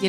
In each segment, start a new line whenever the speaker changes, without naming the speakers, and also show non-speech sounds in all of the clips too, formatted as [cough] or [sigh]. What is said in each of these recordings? Je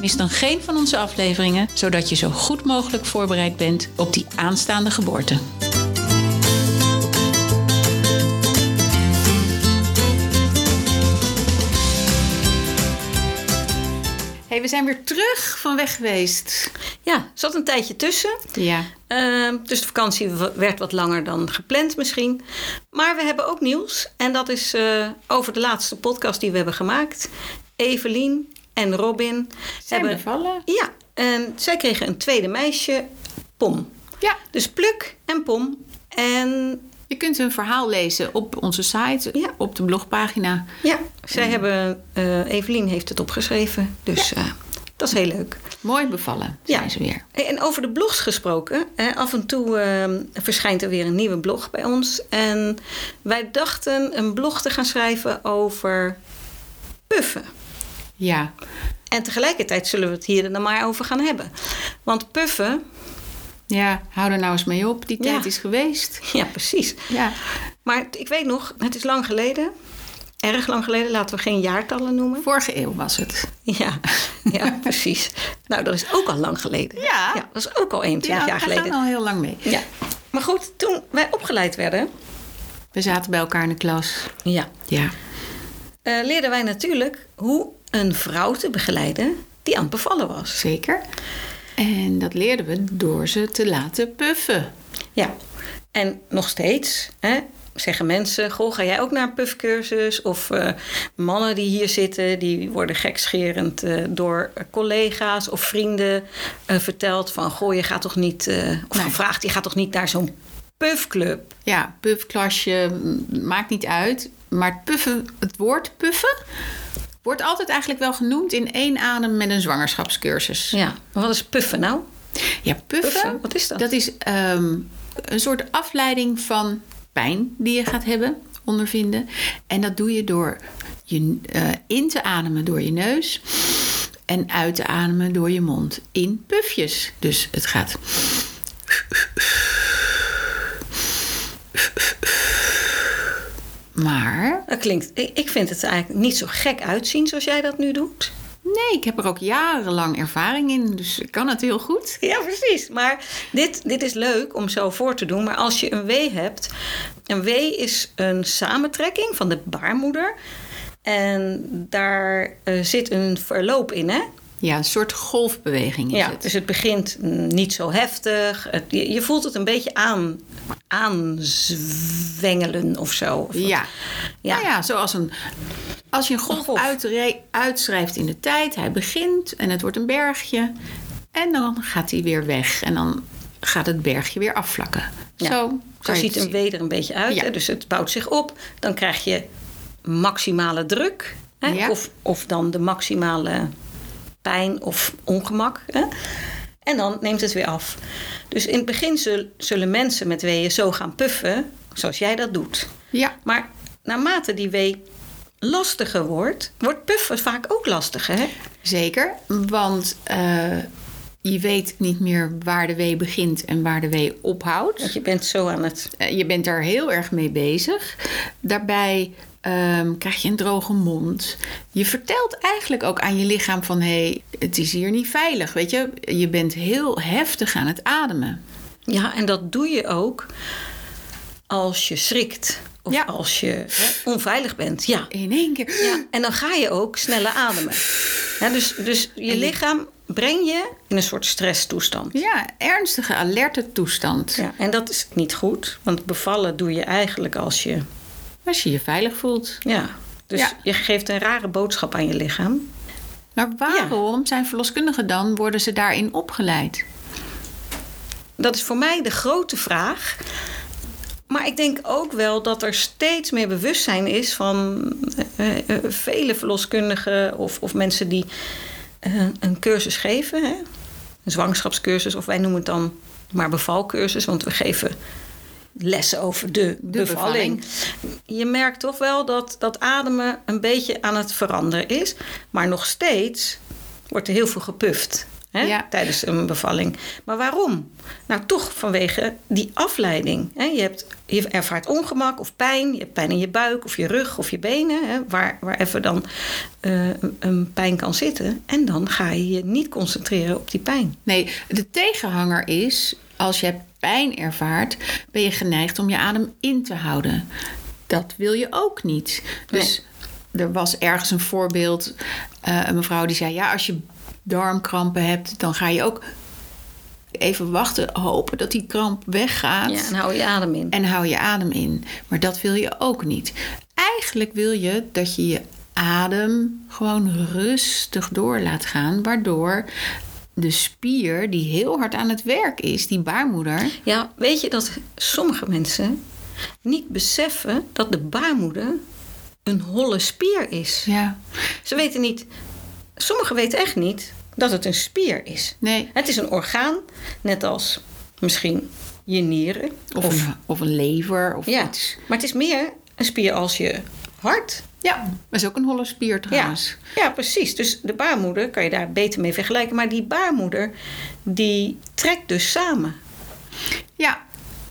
Mis dan geen van onze afleveringen, zodat je zo goed mogelijk voorbereid bent op die aanstaande geboorte. Hey, we zijn weer terug van weg geweest.
Ja, er zat een tijdje tussen.
Ja.
Eh, dus de vakantie w- werd wat langer dan gepland misschien. Maar we hebben ook nieuws. En dat is eh, over de laatste podcast die we hebben gemaakt. Evelien en Robin hebben...
bevallen?
Ja, en zij kregen een tweede meisje, Pom.
Ja.
Dus Pluk en Pom. En
Je kunt hun verhaal lezen op onze site,
Ja.
op de blogpagina.
ja, zij hebben... eh, Evelien heeft het opgeschreven. Dus eh, dat is heel leuk.
Mooi bevallen zijn
Ja.
ze weer.
Hey, En over de blogs gesproken. hè, af en toe ehm, verschijnt er weer een nieuwe blog bij ons. En wij dachten een blog te gaan schrijven over puffen.
Ja.
En tegelijkertijd zullen we het hier dan maar over gaan hebben. Want puffen, [laughs]
Ja, hou er nou eens mee op. Die
Ja.
tijd is geweest.
ja precies.
Ja.
Maar t- ik weet nog, het is lang geleden. Erg lang geleden, laten we geen jaartallen noemen. [laughs]
Vorige eeuw was het.
Ja, ja precies. Nou, dat is ook al lang geleden.
Ja.
dat is ook al 21 jaar
we gaan
geleden.
al heel lang mee.
Ja. Maar goed, toen wij opgeleid werden,
We zaten bij elkaar in de klas.
ja,
Ja.
eh, leerden wij natuurlijk hoe een vrouw te begeleiden die aan het bevallen was.
Zeker. En dat leerden we door ze te laten puffen.
Ja, en nog steeds hè, zeggen mensen: Goh, ga jij ook naar een puffcursus? Of eh, mannen die hier zitten, die worden gekscherend eh, door collega's of vrienden eh, verteld: van goh, je gaat toch niet, eh, of
Nee.
gevraagd, je gaat toch niet naar zo'n puffclub?
Ja, puffklasje, m, maakt niet uit. Maar het, puffen, het woord puffen wordt altijd eigenlijk wel genoemd in één adem met een zwangerschapscursus.
Ja, maar wat is puffen nou?
Ja, puffen,
Puffen, wat is dat?
Dat is ehm, een soort afleiding van pijn die je gaat hebben, ondervinden. En dat doe je door je, eh, in te ademen door je neus en uit te ademen door je mond in pufjes. Dus het gaat. Maar
Dat klinkt, ik ik vind het eigenlijk niet zo gek uitzien zoals jij dat nu doet.
nee, ik heb er ook jarenlang ervaring in, dus ik kan het heel goed.
Ja, precies. Maar dit, dit is leuk om zo voor te doen. Maar als je een W hebt. Een W is een samentrekking van de baarmoeder. En daar eh, zit een verloop in, hè?
Ja, een soort golfbeweging is
ja,
het.
dus het begint mm, niet zo heftig. Het- je, je voelt het een beetje aan, aanzwengelen of zo. Of wat-
Ja.
Ja.
Nou ja, zoals een. Als je een golf,
Een golf.
uitre- uitschrijft in de tijd, hij begint en het wordt een bergje. En dan gaat hij weer weg. En dan gaat het bergje weer afvlakken.
Ja.
Zo, kan je
Zo
het
ziet een
zien.
W er een beetje uit.
Ja.
Hè? Dus het bouwt zich op. Dan krijg je maximale druk. Hè?
Ja.
Of, of dan de maximale pijn of ongemak. Hè? En dan neemt het weer af. Dus in het begin zul- zullen mensen met weeën zo gaan puffen, zoals jij dat doet.
Ja,
Maar naarmate die wee lastiger wordt, wordt puffen vaak ook lastiger. Hè?
zeker. Want eh, je weet niet meer waar de wee begint en waar de wee ophoudt.
Want je bent zo aan het.
Eh, je bent daar heel erg mee bezig. Daarbij ehm, krijg je een droge mond. Je vertelt eigenlijk ook aan je lichaam van... hé, hey, het is hier niet veilig, weet je. Je bent heel heftig aan het ademen.
Ja, en dat doe je ook als je schrikt. Of
Ja.
als je hè, onveilig bent. Ja.
In één keer.
Ja, en dan ga je ook sneller ademen. Ja, dus, dus je lichaam breng je in een soort stresstoestand.
Ja, ernstige alerte toestand.
Ja, en dat is niet goed, want bevallen doe je eigenlijk als je.
Als je je veilig voelt.
Ja, dus
Ja.
je geeft een rare boodschap aan je lichaam.
Maar waarom zijn verloskundigen dan, worden ze daarin opgeleid?
Dat is voor mij de grote vraag. Maar ik denk ook wel dat er steeds meer bewustzijn is van eh, eh, vele verloskundigen of, of mensen die eh, een cursus geven. Hè? Een zwangerschapscursus of wij noemen het dan maar bevalcursus, want we geven lessen over de,
De
bevalling. Je merkt toch wel dat dat ademen een beetje aan het veranderen is. Maar nog steeds wordt er heel veel gepuft hè,
Ja.
tijdens een bevalling. Maar waarom? Nou, toch vanwege die afleiding. Hè. Je, hebt, je ervaart ongemak of pijn. Je hebt pijn in je buik of je rug of je benen. Hè, waar, waar even dan eh, een- een pijn kan zitten. En dan ga je je niet concentreren op die pijn.
Nee, de tegenhanger is, als je pijn ervaart, ben je geneigd om je adem in te houden. Dat wil je ook niet. Dus er was ergens een voorbeeld, eh, een mevrouw die zei, ja, als je darmkrampen hebt, dan ga je ook even wachten, hopen dat die kramp weggaat.
Ja, en hou je adem in.
En hou je adem in. Maar dat wil je ook niet. Eigenlijk wil je dat je je adem gewoon rustig door laat gaan, waardoor de spier die heel hard aan het werk is, die baarmoeder.
Ja, weet je dat sommige mensen niet beseffen dat de baarmoeder een holle spier is.
Ja,
Ze weten niet, sommigen weten echt niet dat het een spier is.
nee.
Het is een orgaan, net als misschien je nieren.
Of, een, of een lever of
ja,
iets.
maar het is meer een spier als je hart.
Ja, dat is ook een holle spier
Ja,
trouwens.
ja, precies. Dus de baarmoeder kan je daar beter mee vergelijken. Maar die baarmoeder, die trekt dus samen.
Ja,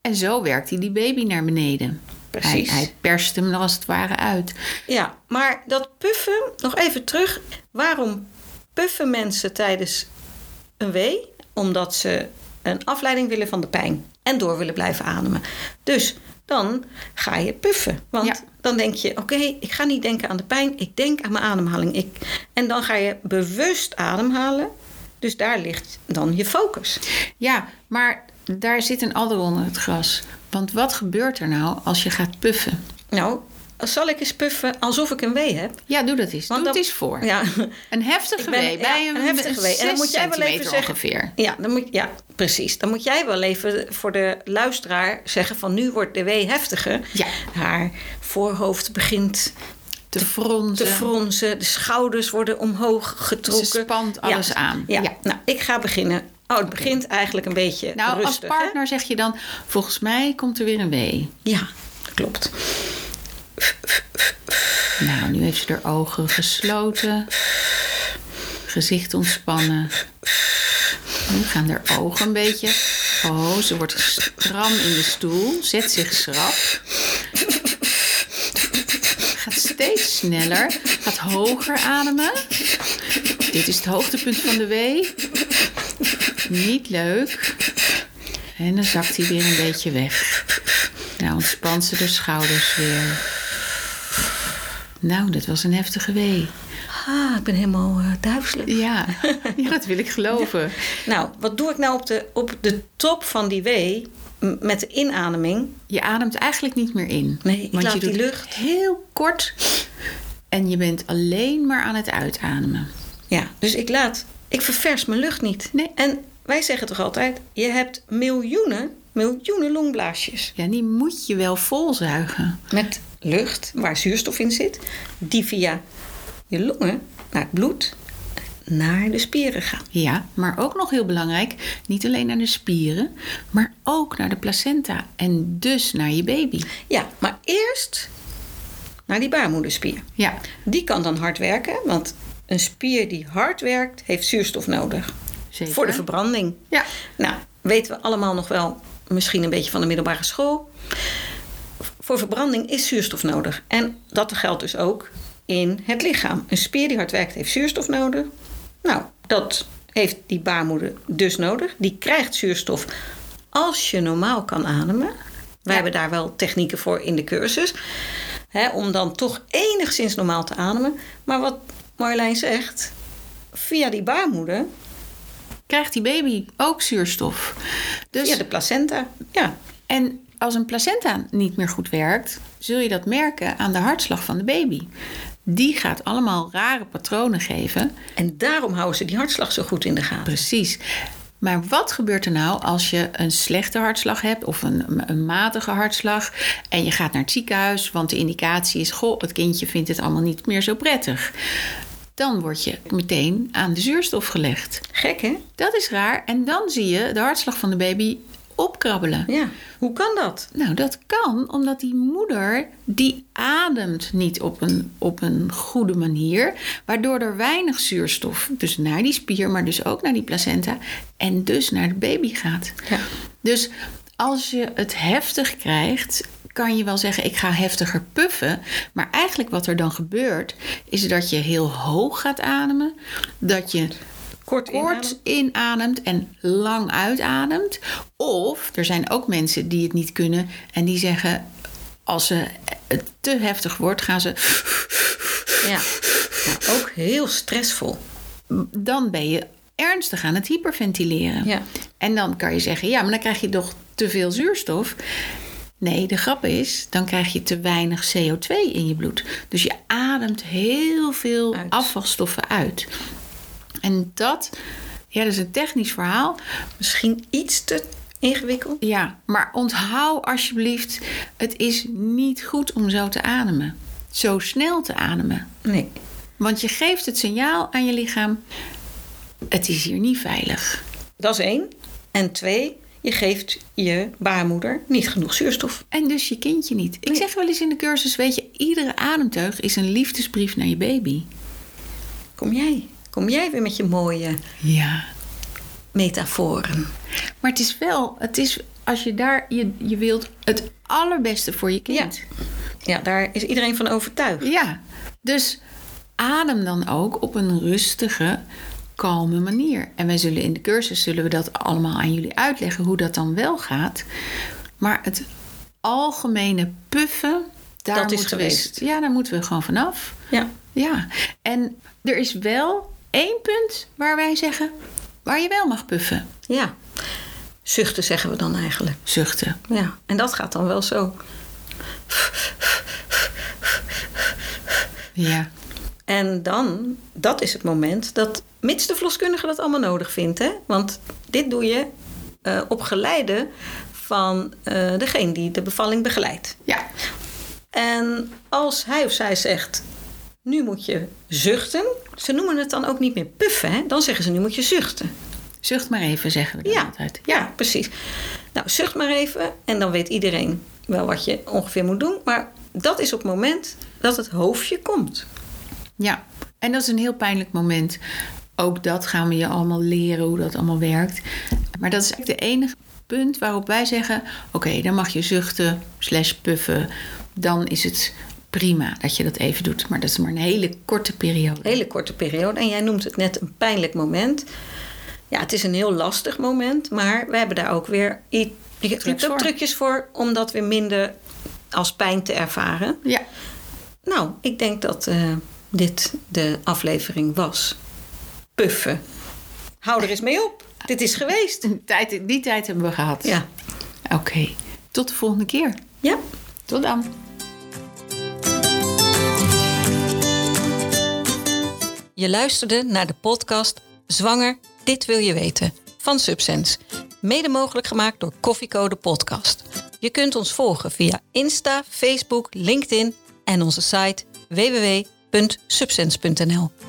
en zo werkt hij die baby naar beneden.
Precies.
Hij, hij perst hem als het ware uit.
Ja, maar dat puffen, nog even terug. Waarom puffen mensen tijdens een wee? Omdat ze een afleiding willen van de pijn en door willen blijven ademen. Dus dan ga je puffen. Want
Ja.
dan denk je, oké, ik ga niet denken aan de pijn. Ik denk aan mijn ademhaling. Ik... En dan ga je bewust ademhalen. Dus daar ligt dan je focus.
Ja, maar daar zit een adder onder het gras. Want wat gebeurt er nou als je gaat puffen?
Nou, zal ik eens puffen alsof ik een wee heb?
Ja, doe dat eens.
Want
doe het
dan-
eens voor.
Ja,
Een heftige
Ik ben-
wee
ja,
bij een,
een heftige wee. En dan
zes
moet jij wel even
centimeter
zeggen-
ongeveer.
Ja, dan moet, ja, precies. Dan moet jij wel even voor de luisteraar zeggen van nu wordt de wee heftiger.
Ja.
Haar voorhoofd begint
Te fronsen.
te fronsen, de schouders worden omhoog getrokken.
Ze spant alles aan.
Ja.
Ja.
nou ik ga beginnen. Oh, het begint eigenlijk een beetje
nou,
rustig.
als
hè?
partner zeg je dan, volgens mij komt er weer een wee.
Ja, dat klopt.
Nou, nu heeft ze haar ogen gesloten. Gezicht ontspannen. Nu gaan haar ogen een beetje... Oh, ze wordt stram in de stoel. Zet zich schrap. Gaat steeds sneller. Gaat hoger ademen. Dit is het hoogtepunt van de wee. Niet leuk. En dan zakt hij weer een beetje weg. Nou, ontspant ze de schouders weer. Nou, dat was een heftige wee.
Ah, ik ben helemaal eh, duizelig.
Ja,
[laughs]
ja dat wil ik geloven.
Nou, wat doe ik nou op de, op de top van die wee m- met de inademing?
Je ademt eigenlijk niet meer in.
Nee, ik
want
laat
je doet
die lucht.
heel kort en je bent alleen maar aan het uitademen.
Ja, dus ik laat, ik ververs mijn lucht niet.
Nee.
En wij zeggen toch altijd, je hebt miljoenen, miljoenen longblaasjes.
Ja, die moet je wel volzuigen.
Met lucht waar zuurstof in zit, die via je longen naar het bloed, naar de spieren gaat.
Ja, maar ook nog heel belangrijk, niet alleen naar de spieren, maar ook naar de placenta en dus naar je baby.
Ja, maar eerst naar die baarmoederspier.
Ja,
Die kan dan hard werken, want een spier die hard werkt, heeft zuurstof nodig.
zeker.
Voor de verbranding.
Ja.
Nou, weten we allemaal nog wel misschien een beetje van de middelbare school. Voor verbranding is zuurstof nodig. En dat geldt dus ook in het lichaam. Een spier die hard werkt heeft zuurstof nodig. Nou, dat heeft die baarmoeder dus nodig. Die krijgt zuurstof als je normaal kan ademen. We
Ja.
hebben daar wel technieken voor in de cursus. Hè, om dan toch enigszins normaal te ademen. Maar wat Marjolein zegt, via die baarmoeder
Krijgt die baby ook zuurstof? Dus
Ja, de placenta. Ja,
En als een placenta niet meer goed werkt, zul je dat merken aan de hartslag van de baby. Die gaat allemaal rare patronen geven.
en daarom houden ze die hartslag zo goed in de gaten.
Precies. Maar wat gebeurt er nou als je een slechte hartslag hebt of een, een matige hartslag en je gaat naar het ziekenhuis, want de indicatie is: goh, het kindje vindt het allemaal niet meer zo prettig. dan word je meteen aan de zuurstof gelegd.
Gek, hè?
Dat is raar. En dan zie je de hartslag van de baby opkrabbelen.
Ja. Hoe kan dat?
Nou, dat kan omdat die moeder die ademt niet op een, op een goede manier, waardoor er weinig zuurstof dus naar die spier, maar dus ook naar die placenta en dus naar de baby gaat.
Ja.
Dus als je het heftig krijgt, kan je wel zeggen ik ga heftiger puffen, maar eigenlijk wat er dan gebeurt is dat je heel hoog gaat ademen, dat je
Kort in.
kort inademt en lang uitademt. Of er zijn ook mensen die het niet kunnen en die zeggen: als ze het te heftig wordt, gaan ze.
Ja. ja. Ook heel stressvol.
Dan ben je ernstig aan het hyperventileren.
Ja.
En dan kan je zeggen: ja, maar dan krijg je toch te veel zuurstof. Nee, de grap is, dan krijg je te weinig CO2 in je bloed. Dus je ademt heel veel
Uit.
afvalstoffen uit. En dat, ja, dat is een technisch verhaal,
Misschien iets te ingewikkeld.
Ja, maar onthoud alsjeblieft, het is niet goed om zo te ademen. Zo snel te ademen.
Nee.
Want je geeft het signaal aan je lichaam, het is hier niet veilig.
Dat is één. En twee, je geeft je baarmoeder niet genoeg zuurstof.
En dus je kindje niet. Ik zeg wel eens in de cursus, weet je, iedere ademteug is een liefdesbrief naar je baby.
Kom jij. Kom jij weer met je mooie
Ja.
metaforen.
Maar het is wel, het is als je daar, je, je wilt het allerbeste voor je
Ja.
kind.
ja, daar is iedereen van overtuigd.
Ja, dus adem dan ook op een rustige, kalme manier. En wij zullen in de cursus zullen we dat allemaal aan jullie uitleggen hoe dat dan wel gaat. Maar het algemene puffen, daar
Dat is
moeten we
geweest.
eens- ja, daar moeten we gewoon vanaf.
Ja.
Ja, en er is wel één punt waar wij zeggen waar je wel mag puffen.
Ja. Zuchten zeggen we dan eigenlijk.
Zuchten.
Ja. En dat gaat dan wel zo.
Ja.
En dan, dat is het moment dat, mits de verloskundige dat allemaal nodig vindt, hè? want dit doe je eh, op geleide van eh, degene die de bevalling begeleidt.
Ja.
En als hij of zij zegt, nu moet je zuchten, ze noemen het dan ook niet meer puffen, hè? dan zeggen ze nu moet je zuchten.
Zucht maar even, zeggen we dan
Ja,
altijd.
ja, precies. Nou, zucht maar even en dan weet iedereen wel wat je ongeveer moet doen, maar dat is op het moment dat het hoofdje komt.
Ja, en dat is een heel pijnlijk moment. Ook dat gaan we je allemaal leren hoe dat allemaal werkt. Maar dat is eigenlijk de enige punt waarop wij zeggen: oké, dan mag je zuchten, slash puffen. Dan is het prima dat je dat even doet. Maar dat is maar een hele korte periode.
hele korte periode. En jij noemt het net een pijnlijk moment. Ja, het is een heel lastig moment, maar we hebben daar ook weer i- je hebt
Trucs
ook
voor.
trucjes voor om dat weer minder als pijn te ervaren.
Ja,
Nou, ik denk dat eh, dit de aflevering was. Puffen. Hou er eens mee op. Dit is geweest.
die tijd, die tijd hebben we gehad.
Ja.
Oké, tot de volgende keer.
Ja.
Tot dan.
Je luisterde naar de podcast Zwanger, dit wil je weten van Subsense. Mede mogelijk gemaakt door Koffiecode Podcast. Je kunt ons volgen via Insta, Facebook, LinkedIn en onze site www.subsense.nl.